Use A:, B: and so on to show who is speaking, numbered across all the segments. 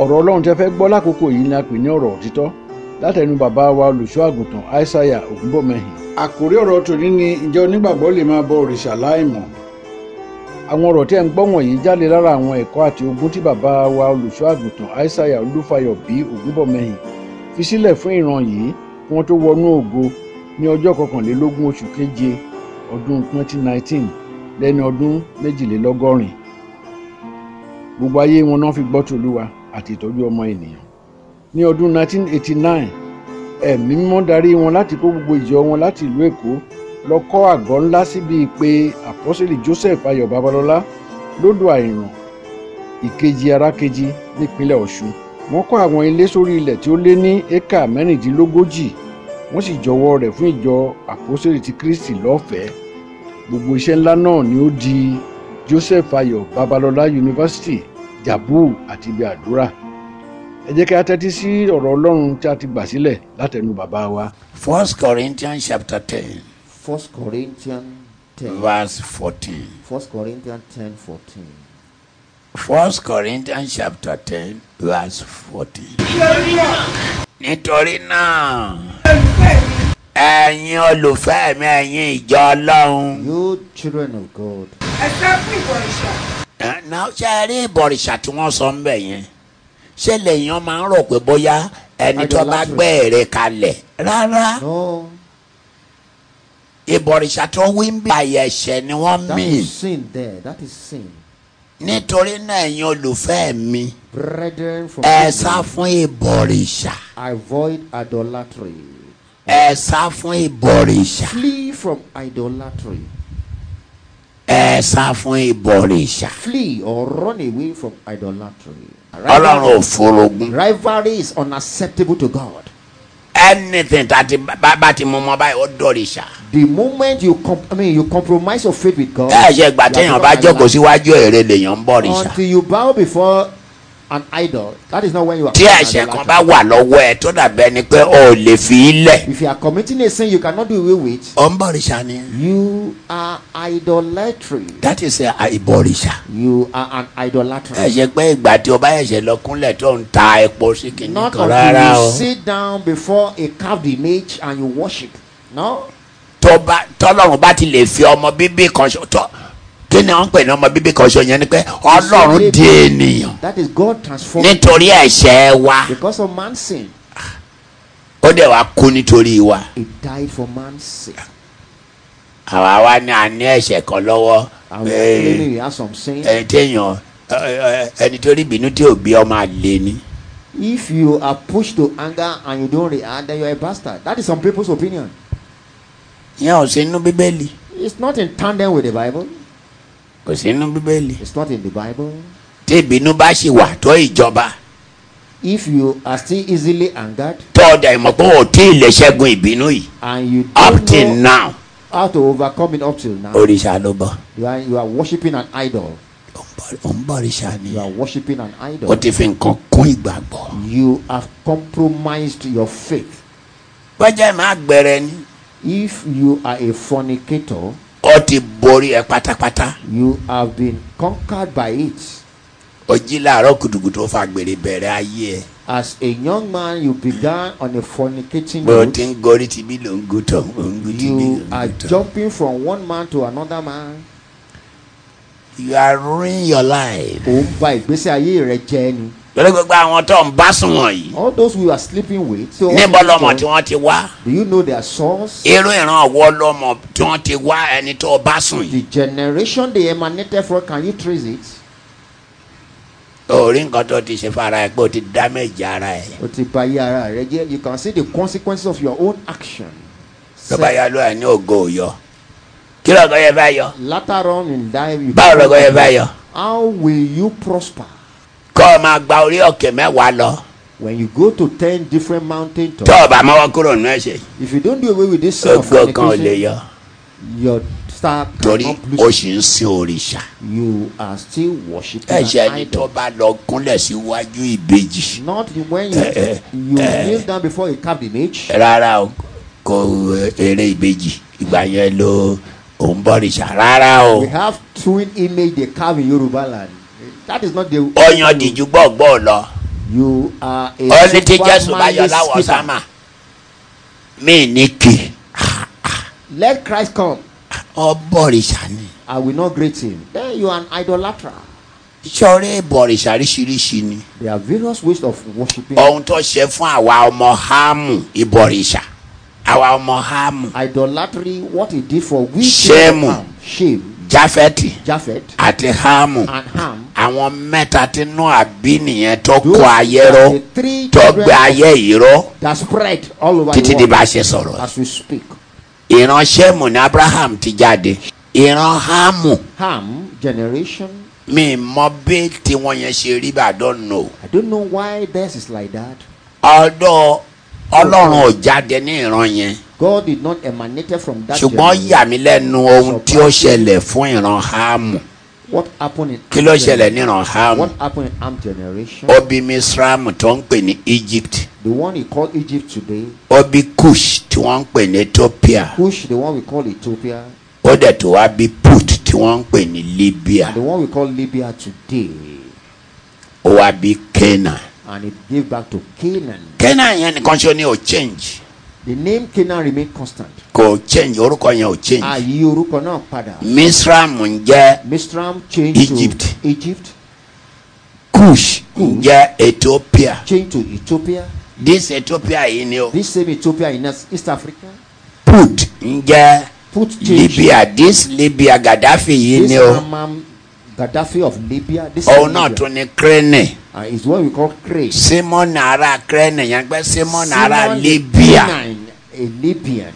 A: ọ̀rọ̀ ọlọ́run tẹ́ fẹ́ gbọ́ lákòókò yìí ni a pè ní ọ̀rọ̀ òtítọ́ látẹnu bàbá wa olùṣọ́ àgùntàn aishaiya ògúnbọ̀mọyìn. àkòrí ọ̀rọ̀ tòní ni ǹjẹ́ onígbàgbọ́ lè máa bọ òrìṣà láìmọ̀. àwọn ọ̀rọ̀ tí ẹ̀ ń gbọ́ wọ̀nyí jáde lára àwọn ẹ̀kọ́ àti ogun tí bàbá wa olùṣọ́ àgùntàn aishaiya olúfayọ bí ògúnbọ̀mọyìn fi sílẹ̀ fún ìran yìí kí wọ́n tó wọnú ògo ní ọjọ́ kọkànlélógún oṣù keje ọdún 2019 lẹ́ni ọdún méjìlélọ́gọ́rin gbogbo ayé wọn náà fi gbọ́ tòlúwa àti ìtọ́jú ọmọ ènìyàn ní ọdún 1989 ẹ̀mí mímọ́ darí wọn láti kó gbogbo ìjọ wọn láti ìlú èkó lọ kọ́ àgọ́ ńlá síbi ìpè àpọ́sẹ̀lì joseph ayọ̀ babalọ́lá lódò àìràn ìkejì arákejì nípínlẹ̀ ọ̀ṣun wọ́n kọ́ àwọn ilé sórí ilẹ̀ tí ó lé ní éka mẹ́rìndínlógójì wọ́n sì jọwọ́ rẹ̀ fún ìjọ àpọ́sẹ̀lì ti kristi lọ́fẹ̀ẹ́ gbogbo iṣẹ́ ńlá náà ni ó di joseph ayọ̀ babalọ́lá university jabu àti ibi àdúrà ẹ jẹ́ kí a tẹ́tí sí ọ̀rọ̀ ọlọ́run tí a ti gbà sílẹ̀ látẹnu bàbá wa.
B: First Corinthians chapter 10,
C: 1 Corinthians 10,
B: verse 14.
C: 1 Corinthians 10, 14.
B: First Corinthians chapter 10, verse 14. Nítorí náà, ẹ̀yin olùfẹ́ mi, ẹ̀yin ìjọ ọlọ́run.
C: You children of God,
B: Ẹ, Náà ṣe rí ìbọ̀rìṣà tí wọ́n sọ ń bẹ̀ yẹn. Ṣé lèèyàn máa ń rò pé bóyá ẹni tó bá gbé ère kalẹ̀? Rárá,
C: no,
B: ìbọ̀rìṣà tó wí ń bí àyẹ̀ṣẹ̀ ni wọ́n
C: that
B: mí.
C: is sin there. That is sin.
B: Nítorí náà, ẹ̀yin olùfẹ́ mi,
C: Brethren from
B: ẹ
C: Israel,
B: sá fún ìbọ̀rìṣà.
C: avoid idolatry.
B: ẹ sá fún ìbọ̀rìṣà
C: Flee from idolatry.
B: ẹ sá fún ìbọ̀rìṣà
C: Flee or run away from idolatry.
B: ọlọ́run ò forogún
C: Rivalry is unacceptable to God.
B: anything tàti bàbá ti mú ọmọ báyìí ó dọ̀rìṣà
C: The moment you com- I mean you compromise your faith with God,
B: ẹ ṣe gbà
C: you
B: téèyàn
C: have
B: bá
C: become
B: jókòó
C: idolater.
B: síwájú èrè lèèyàn ń bọ̀rìṣà
C: until you bow before an idol. That is not when you are.
B: tí
C: an
B: ẹ̀ṣẹ̀ kan
C: idolater.
B: bá wà lọ́wọ́ ẹ tó dàbẹ́ ni pé o ò lè fi í lẹ̀
C: If you are committing a sin you cannot do away with,
B: ó ń bọ̀rìṣà ni
C: you are idolatry.
B: that is a ìbọ̀rìṣà
C: You are an
B: ẹ
C: idolater.
B: ṣe pé ìgbà tí o bá ẹ̀ṣẹ̀ lọ kúnlẹ̀ tó ń ta epo sí kìnnì
C: Not
B: kan
C: until
B: rárá
C: you
B: o
C: sit down before a carved image and you worship. No,
B: tó bá tọ́lọ́run bá ti lè fi ọmọ bíbí kan ṣo tọ́ kí ni wọ́n ń pè ní ọmọ bíbí kan ṣo yẹn ni pé ọlọ́run di ènìyàn
C: that is God transforming.
B: nítorí ẹ̀ṣẹ̀ wa
C: Because of man's sin,
B: ó dẹ̀ wá kú nítorí wa
C: he died for man's sin.
B: àwa wa ní a ní ẹ̀ṣẹ̀ kan lọ́wọ́
C: And we are claiming
B: Ee,
C: we have some sin.
B: ẹni téèyàn ẹ, ẹ, ẹni tó rí ìbínú tí ò bí ọmọ àlè ni
C: If you are pushed to anger and you don't react, then you are a bastard. That is some people's opinion.
B: yẹn ò sí inú bíbélì
C: It's not in tandem with the Bible.
B: kò sí inú bíbélì
C: It's not in the Bible.
B: tí ìbínú bá sì wà tó ìjọba
C: If you are still easily angered
B: tó ọ̀dà ìmọ̀ pé ò tí ì lè ṣẹ́gun ìbínú yìí
C: and you
B: up
C: don't
B: till
C: know
B: now Oh.
C: how to overcome it up till now,
B: òrìṣà ló bọ̀
C: you are you are worshiping an idol.
B: Ó ń bọ- ó ń bọ òrìṣà ni
C: You are worshiping an
B: ó
C: idol.
B: ti fi nǹkan kún ìgbàgbọ́.
C: You have compromised your faith.
B: bọ́jà máa gbẹrẹ ni
C: If you are a fornicator,
B: ó ti borí ẹ pátápátá.
C: you have been conquered by it.
B: ó jí láàárọ̀ kùtùkùtù ó fa gbèrè bẹ̀rẹ̀ ayé ẹ̀.
C: As a young man, you began on a fornicating
B: bó o ti ń
C: route.
B: gorí tibí ló ń gútọ̀ ó ń gú tibí ló
C: You
B: ń
C: are
B: gútọ̀.
C: jumping from one man to another man.
B: you are ruining your life.
C: Ò ń ba Oh, ìgbésí ayé rẹ jẹ́ ni.
B: lórí gbogbo àwọn tó ń bá sùn wọ̀nyí.
C: All those who you are sleeping with. so all
B: níbo
C: these
B: lọmọ
C: people,
B: tí wọ́n ti wá.
C: Do you know their source?
B: irú ìran ọ̀wọ́ lọmọ tí wọ́n ti wá ẹni tó o bá sùn
C: The
B: yìí.
C: generation they emanated from, can you trace it?
B: orí nǹkan tó ti ṣe fara ẹ pé o ti damage ara ẹ.
C: O ti ba ayé ara rẹ jẹ́. You can see the consequences of your own action.
B: lọ́ba ya ló ẹ ní ògo òyọ. kí lọ́gọ́ yẹ fẹ́ yọ.
C: Later on in life, you
B: báwo lọ́gọ́ yẹ fẹ́ yọ.
C: how will you prosper
B: kọ́ ọ máa gba orí òkè mẹ́wàá lọ.
C: when you go to ten different mountain
B: tó
C: tops?
B: o bá mọ́wọ́ kúrò nínú ẹ̀ṣẹ̀
C: If you don't do away with this sin of
B: ògo kan ò lè
C: fornication,
B: yọ.
C: your star
B: torí
C: cannot
B: o
C: lose.
B: sì ń sin òrìṣà.
C: You are still worshiping
B: ẹ̀ṣẹ̀
C: an
B: ẹni tó
C: idol.
B: bá lọ kúnlẹ̀ síwájú ìbejì.
C: Not when you
B: eh,
C: you kneel down before a carved image.
B: rárá o kò eré ìbejì ìgbà yẹn ló ò ń bọ̀rìṣà rárá o.
C: We have twin image they carve in Yoruba land. That is not the.
B: ó yan dìjú gbọ̀gbọ̀ lọ.
C: You are a
B: ó ní tí jésù bá yọ
C: supermanly
B: láwọ̀
C: skipper.
B: sámà mí ní kì
C: Let Christ come.
B: ọ bọ̀rìṣà ni
C: I will not greet him. Then you are an idolater.
B: sọ̀rọ̀ ìbọ̀rìṣà ríṣiríṣi ni
C: There are various ways of worshiping.
B: ohun tó ṣe fún àwa ọmọ hámù ìbọ̀rìṣà àwa ọmọ hámù
C: Idolatry, what he did for we
B: Shame.
C: children of Ham, shame,
B: jáfẹ́tì
C: Japhet,
B: àti hámù
C: and Ham.
B: àwọn mẹ́ta tí nú àbí nìyẹn tó
C: Those
B: kó ayé
C: are
B: ró
C: the three
B: tó gbé
C: children
B: ayé yìí ró
C: that spread all over
B: títí
C: the
B: di
C: world
B: bá a ṣe sọ̀rọ̀ yìí.
C: as we speak.
B: ìran ṣẹ́mù ní abraham ti jáde ìran hámù
C: Ham generation.
B: mi mọ bí tiwọn yẹn ṣe rí bàdán nù
C: I don't know why this is like that.
B: ọdọ ọlọ́run ò jáde ní ìran yẹn
C: God did not emanate from that.
B: ṣùgbọ́n
C: generation.
B: yà mí lẹ́nu ohun tí ó ṣẹlẹ̀ fún ìran hámù
C: What happened in
B: kí ló
C: Ham
B: ṣẹlẹ̀
C: generation?
B: níran hámù
C: What happened in Ham generation?
B: ó bí misraim tó ń pè ní egypt
C: The one he called Egypt today,
B: ó bí kush tí wọ́n ń pè ní ethiopia
C: Cush, the one we call Ethiopia,
B: ó dẹ̀ tó wá bí put tí wọ́n ń pè ní libya
C: and the one we call Libya today,
B: ó wá bí kena
C: and it gave back to Canaan.
B: kena yẹn nìkan ṣe ó ní ò change
C: The name Canaan remained constant.
B: kò change orúkọ yẹn ò change.
C: Àyí orúkọ náà padà.
B: misraim ń jẹ́
C: Mistram changed
B: Egypt.
C: to Egypt,
B: kush ń jẹ́ ethiopia
C: changed to Ethiopia.
B: this ethiopia yìí ni o
C: This same Ethiopia in East East Africa,
B: put ń jẹ́
C: put change.
B: libya this libya gaddafi yìí
C: This
B: ni o
C: Amam Gaddafi of Libya. This
B: òun
C: same
B: náà
C: Libya,
B: tún ni krene
C: uh, is what we call Crete.
B: simon ara krene yẹn pé simon ara
C: Simon
B: libya
C: Canaan, A Libyan.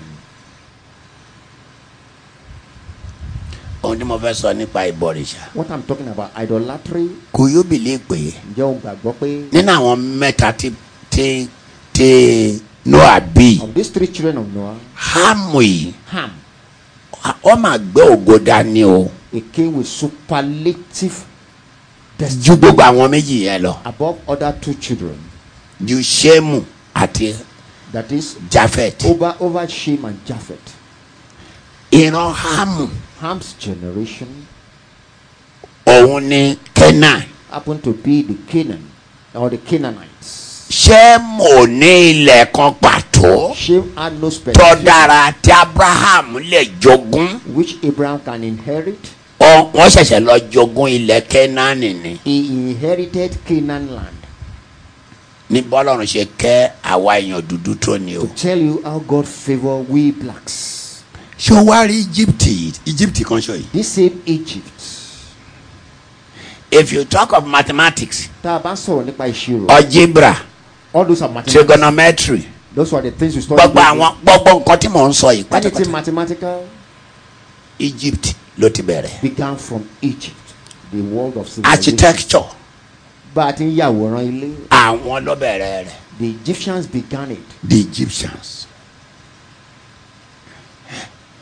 B: ohun tí mo fẹ́ sọ nípa ìbọ̀rìṣà
C: What I'm talking about, idolatry.
B: kò yóò bìlẹ̀ pé
C: Ǹjẹ́ o gbàgbọ́ pé
B: nínú àwọn mẹ́ta tí tí tí noah bí
C: of these three children of Noah,
B: hamu yìí
C: Ham,
B: ó mà gbé ògo dání o
C: he came with superlative
B: ju
C: destiny
B: gbogbo àwọn méjì yẹn lọ.
C: above other two children.
B: ju shemu àti
C: That is
B: jafet
C: over over Shem and Japheth.
B: ìran hamu
C: Ham's generation
B: òun ni kenan
C: happened to be the Canaan or the Canaanites.
B: shemu ò ní ilẹ̀ kan pàtó
C: Shem had no
B: tó
C: specific
B: dára tí abraham lè jogún
C: which Abraham can inherit.
B: Ọ- wọ́n ṣẹ̀ṣẹ̀ lọ jogún ilẹ̀ kenan ni
C: He inherited Canaan land.
B: ní bọ́lọ́run ṣe kẹ́ àwa èèyàn dúdú tó ni o.
C: to tell you how God favor we blacks.
B: ṣé o wá rí egypt yìí? egypt kan ṣọ yìí.
C: This same Egypt.
B: if you talk of mathematics
C: Tá a bá sọ̀rọ̀ nípa ìṣirò.
B: algebra
C: All those are mathematics.
B: trigonometry
C: Those were the things we studied.
B: gbogbo àwọn gbogbo nǹkan tí mò ń sọ yìí
C: Anything
B: pátápátá
C: mathematical
B: egypt ló ti bẹ̀rẹ̀.
C: began from Egypt, the world of civilization.
B: architecture
C: Bá a ti ń yàwòrán ilé,
B: àwọn ló bẹ̀rẹ̀ rẹ̀.
C: the Egyptians began it.
B: the egyptians.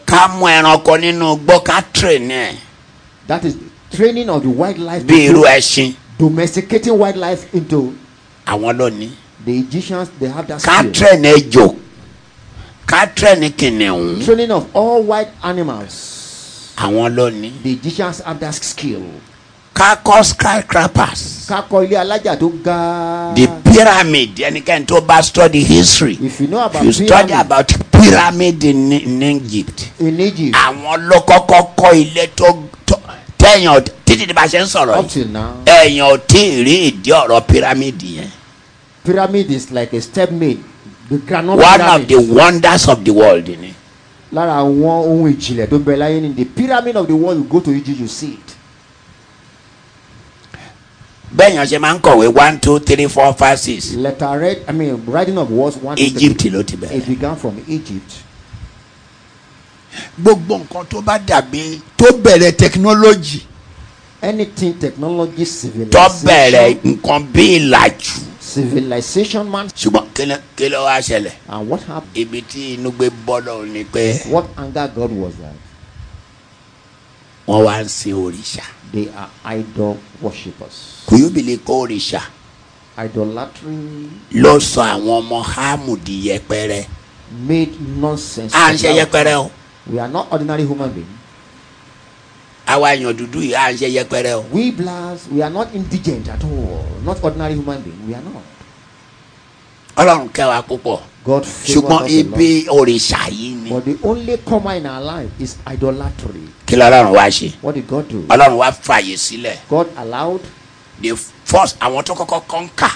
B: ká mú ẹranko nínú gbọ́ ká train ẹ̀
C: That is the training of the wildlife.
B: bí irú
C: into-
B: ẹṣin
C: Domesticating wildlife into
B: àwọn ló ní.
C: the Egyptians, they have that
B: ká
C: skill.
B: train ejò ká train kìnìún
C: Training of all wild animals.
B: àwọn ló ní.
C: The Egyptians have that skill.
B: ká kọ́ skyscrapers
C: kakọ ilé alájà tó ga.
B: the pyramid ẹnikẹ́ni tó bá study history
C: if you know about
B: if you study
C: pyramid
B: about pyramid in, in egypt
C: in egypt
B: àwọn ló kọ́kọ́ kọ́ ilé tó tó- tẹ̀yàn ò- títí tí bá ṣe ń sọ̀rọ̀
C: up
B: yìí.
C: till now
B: ẹ̀yàn ò tí ì rí ìdí ọ̀rọ̀ pírámìdì yẹn.
C: pyramid is like a step made the groundnut
B: one of
C: pyramid
B: the wonders of the world ni.
C: lára àwọn ohun ìjìnlẹ̀ tó ń bẹ láyé ni the pyramid of the world you go to egypt you see it
B: bẹ́ẹ̀yàn ṣe máa ń kọ̀wé one two three four five six
C: letter red i mean writing of words one two, three.
B: egypt ló ti
C: it
B: bẹ̀rẹ̀.
C: began from egypt
B: gbogbo nǹkan tó bá dàbí tó bẹ̀rẹ̀ technology.
C: anything technology
B: tó
C: civilization
B: bẹ̀rẹ̀ nǹkan bí ìlàjù.
C: civilization man
B: ṣùgbọ́n kí ló- kí ló wá ṣẹlẹ̀.
C: and what happened
B: ibi tí inú gbé bọ́lọ̀ ni pé
C: what anger god was that
B: wọ́n wá ń sin òrìṣà.
C: they are idol worshippers
B: kò yóò bìlẹ̀ kó òrìṣà
C: idolatry
B: ló sọ àwọn ọmọ háàmù di yẹpẹrẹ.
C: made nonsense.
B: à ń
C: of
B: ṣe
C: life.
B: yẹpẹrẹ o.
C: We are not ordinary human beings.
B: àwa èèyàn dúdú yìí à ń ṣe yẹpẹrẹ o
C: We blacks, we are not indigent at all. Not ordinary human being. We are not.
B: ọlọ́run kẹwàá púpọ̀
C: God favored
B: ṣùgbọ́n
C: us a lot.
B: ibi òrìṣà yìí ni
C: But the only comma in our life is idolatry.
B: kí lọ́lọ́run wá ṣe
C: What did God do?
B: ọlọ́run wá fààyè sílẹ̀
C: God allowed
B: the first àwọn tó kọ́kọ́ kọ́ńkà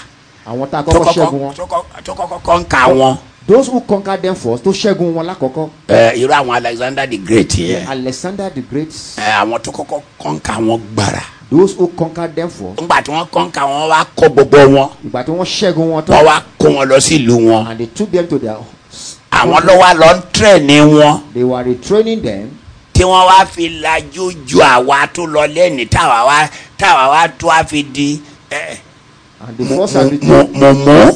C: àwọn tá a
B: tó
C: kọ́kọ́ ṣẹ́gun
B: kọ́kọ́
C: wọn.
B: tó kọ́kọ́- tó kọ́kọ́ kọ́ńkà wọn
C: Those who conquered them first tó ṣẹ́gun wọn lákọ̀ọ́kọ́.
B: ẹ, irú àwọn Alexander the Great yẹn
C: Alexander the Great.
B: ẹ, àwọn tó kọ́kọ́ kọ́ńkà wọn gbàrà
C: Those who conquered them first.
B: nígbà tí wọ́n kọ́ńkà wọn wá kó gbogbo wọn
C: Ìgbà tí wọ́n ṣẹ́gun wọn
B: wọ́n
C: tán.
B: wá kó wọn lọ sí ìlú wọn
C: And they took them to their.
B: àwọn ló wá lọ ń tẹ̀lé wọn
C: They were retraining them.
B: tí wọ́n wá fi lajú ju àwa tó lọ lẹ́ni táwa wá táwa wá tó a fi di ẹ,
C: And the
B: mu-
C: first have
B: mu-
C: returned.
B: mu- mu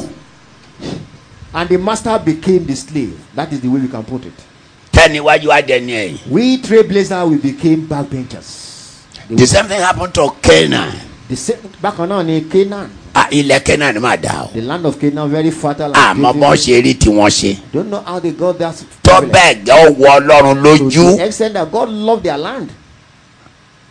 C: And the master became the slave. That is the way we can put it.
B: tẹ́niwájú adẹni ẹ̀yìn.
C: We trailblazer we became backbenchers. They
B: the same thing happened to Canaan
C: the same bákan náà ni canaan
B: Ah, ilẹ̀ Canaan má dà o
C: the land of canaan very fertile and
B: àmọ́ bọ́n
C: beautiful
B: ṣe rí tiwọn ṣe
C: don't know how they got that privilege.
B: tọ́bẹ̀ gẹ́ ó wọ ọlọ́run
C: to
B: lójú
C: the extent that God loved their land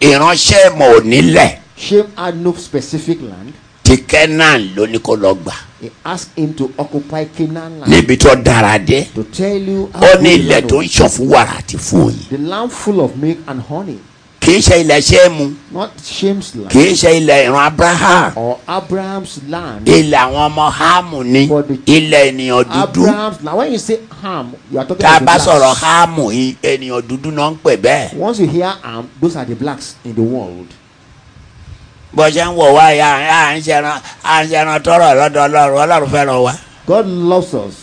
B: ìránṣẹ́ mọ̀ ò nílẹ̀
C: Shem had no specific land
B: ti Canaan ló ní kó lọ gbà
C: he asked him to occupy canaan land
B: níbi tó dára dé
C: to tell you how
B: ó ní
C: good
B: ilẹ̀
C: land
B: tó
C: was.
B: ń ṣàn fún wàrà àti fún òyìn
C: the land full of milk and honey
B: kì í ṣe ilẹ̀ Ṣéèmù
C: not Shem's
B: kì
C: land
B: í ṣe ilẹ̀ ìran Abraham
C: or Abraham's land
B: ilẹ̀ àwọn ọmọ Hámù ni
C: For the-
B: ilẹ̀ ènìyàn dúdú
C: Abraham's land when you say Ham you are talking
B: tá a
C: about the
B: bá sọ̀rọ̀
C: blacks
B: Hámù i- ènìyàn dúdú náà ń pè bẹ́ẹ̀
C: once you hear Ham those are the blacks in the world
B: bó ṣe ń wò wá yà á ń ṣẹran á ń ṣẹran tọrọ lọ́dọ̀ Ọlọ́run Ọlọ́run fẹ́ràn wa
C: God loves us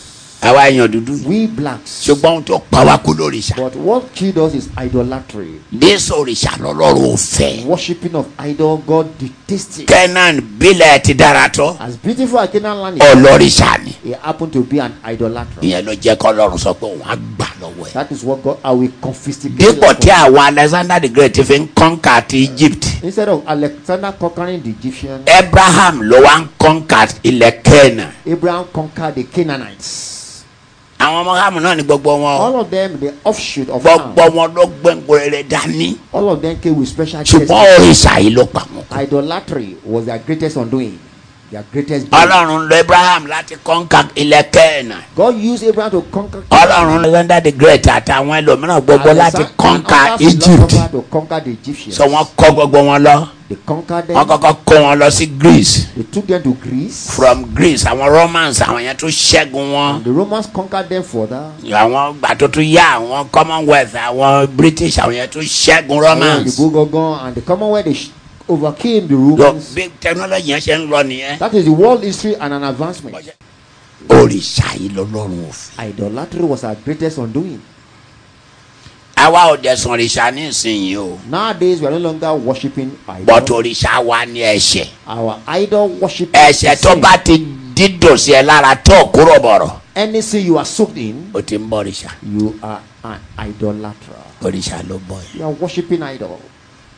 B: àwa èèyàn dúdú yìí
C: we blacks
B: ṣùgbọ́n ohun tó pa wá kú lóríṣà
C: But what killed us is idolatry.
B: dísò òrìṣà lọ́lọ́run ò fẹ́
C: Worshipping of idol, God detested.
B: Canaan bílẹ̀ ti dára tó
C: As beautiful as Canaan land is,
B: ọlọ́rìṣà ni
C: he happened to be an idolater.
B: ìyẹn ló jẹ́ kọ́ Ọlọ́run sọ pé òun á gbà lọ́wọ́ ẹ̀
C: That is what God, I will confiscate.
B: dípò
C: land
B: tí
C: from-
B: àwọn Alexander the Great fi ń kọ́ńkà ti Egypt
C: Instead of Alexander conquering the Egyptian,
B: Abraham ló wá ń kọ́ńkà ilẹ̀ Canaan
C: Abraham conquered the Canaanites.
B: àwọn ọmọ Hámù náà ni gbogbo wọn
C: All of them, the offshoot of Ham,
B: gbogbo wọn ló gbẹ̀ngbò rere dání
C: all of them came with special
B: ṣùgbọ́n
C: gifts.
B: òrìṣà yìí ló pa wọn.
C: Idolatry was their greatest undoing. Their greatest. doing.
B: Ọlọ́run lo Abraham láti kọ́ńkà ilẹ̀ Canaan
C: God used Abraham to conquer.
B: ọlọ́run Alexander the great àtàwọn ẹlòmíràn gbogbo láti
C: Alexander-
B: kọ́ńkà
C: others did not
B: Egypt
C: conquer- To conquer the Egyptians.
B: so wọ́n kọ́ gbogbo wọn lọ
C: They conquered them.
B: wọ́n kọ́kọ́ kó wọn lọ sí Greece
C: They took them to Greece.
B: from Greece àwọn Romans àwọn yẹn tún ṣẹ́gun wọn
C: The Romans conquered them further.
B: àwọn ìgbà tó tún yá àwọn Commonwealth àwọn British àwọn yẹn tún ṣẹ́gun
C: And the
B: Romans
C: Gogogon and the Commonwealth they sh- overcame the
B: so
C: Romans.
B: bí technology yẹn ṣe ń lọ nìyẹn
C: That is the world history and an advancement.
B: òrìṣà yìí lọ́lọ́run òfin
C: Idolatry was our greatest undoing.
B: àwa ò dẹ̀sùn òrìṣà ní ìsinyìí o
C: Nowadays we are no longer worshipping
B: but uh,
C: idol.
B: òrìṣà wa ní ẹ̀ṣẹ̀
C: Our idol worship.
B: ẹ̀ṣẹ̀ tó bá ti dídò sí ẹ lára tó kúrò bọ̀rọ̀
C: anything you are soaked in,
B: ó ti ń bọ̀ òrìṣà.
C: you are an idolater.
B: òrìṣà ló bọ̀ yìí.
C: You are worshipping idol.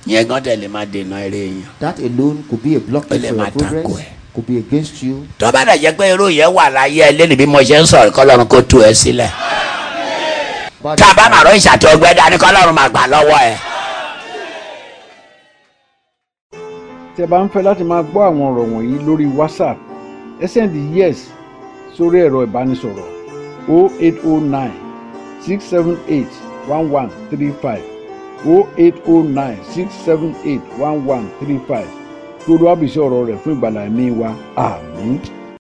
B: yẹn gan tẹ̀lé máa dènà eré yẹn.
C: That alone could be a blockade
B: Ele
C: for your
B: matako
C: progress.
B: e.
C: Could be against you.
B: tó bá dà jẹ́ pé irú yẹn wà láyé ẹ lẹ́nu bí mo ṣe ń sọ̀rọ̀ kọ́lọ́run kó tú ẹ sílẹ̀.
C: But
B: tá a bá màrọ́ ìṣàtọ̀ ọgbẹ́ dání kọ́lọ́run máa gbà lọ́wọ́ ẹ.
A: tí ẹ bá ń fẹ́ láti máa gbọ́ àwọn ọ̀rọ̀ wọ̀nyí lórí whatsapp ẹ sẹ́ndì yes sórí ẹ̀rọ ìbánisọ̀rọ̀ 0809 678 1135 0809 678 1135 tó lọ́wọ́ àbísí ọ̀rọ̀ rẹ̀ fún ìgbàlá ẹ̀mí wa àmín.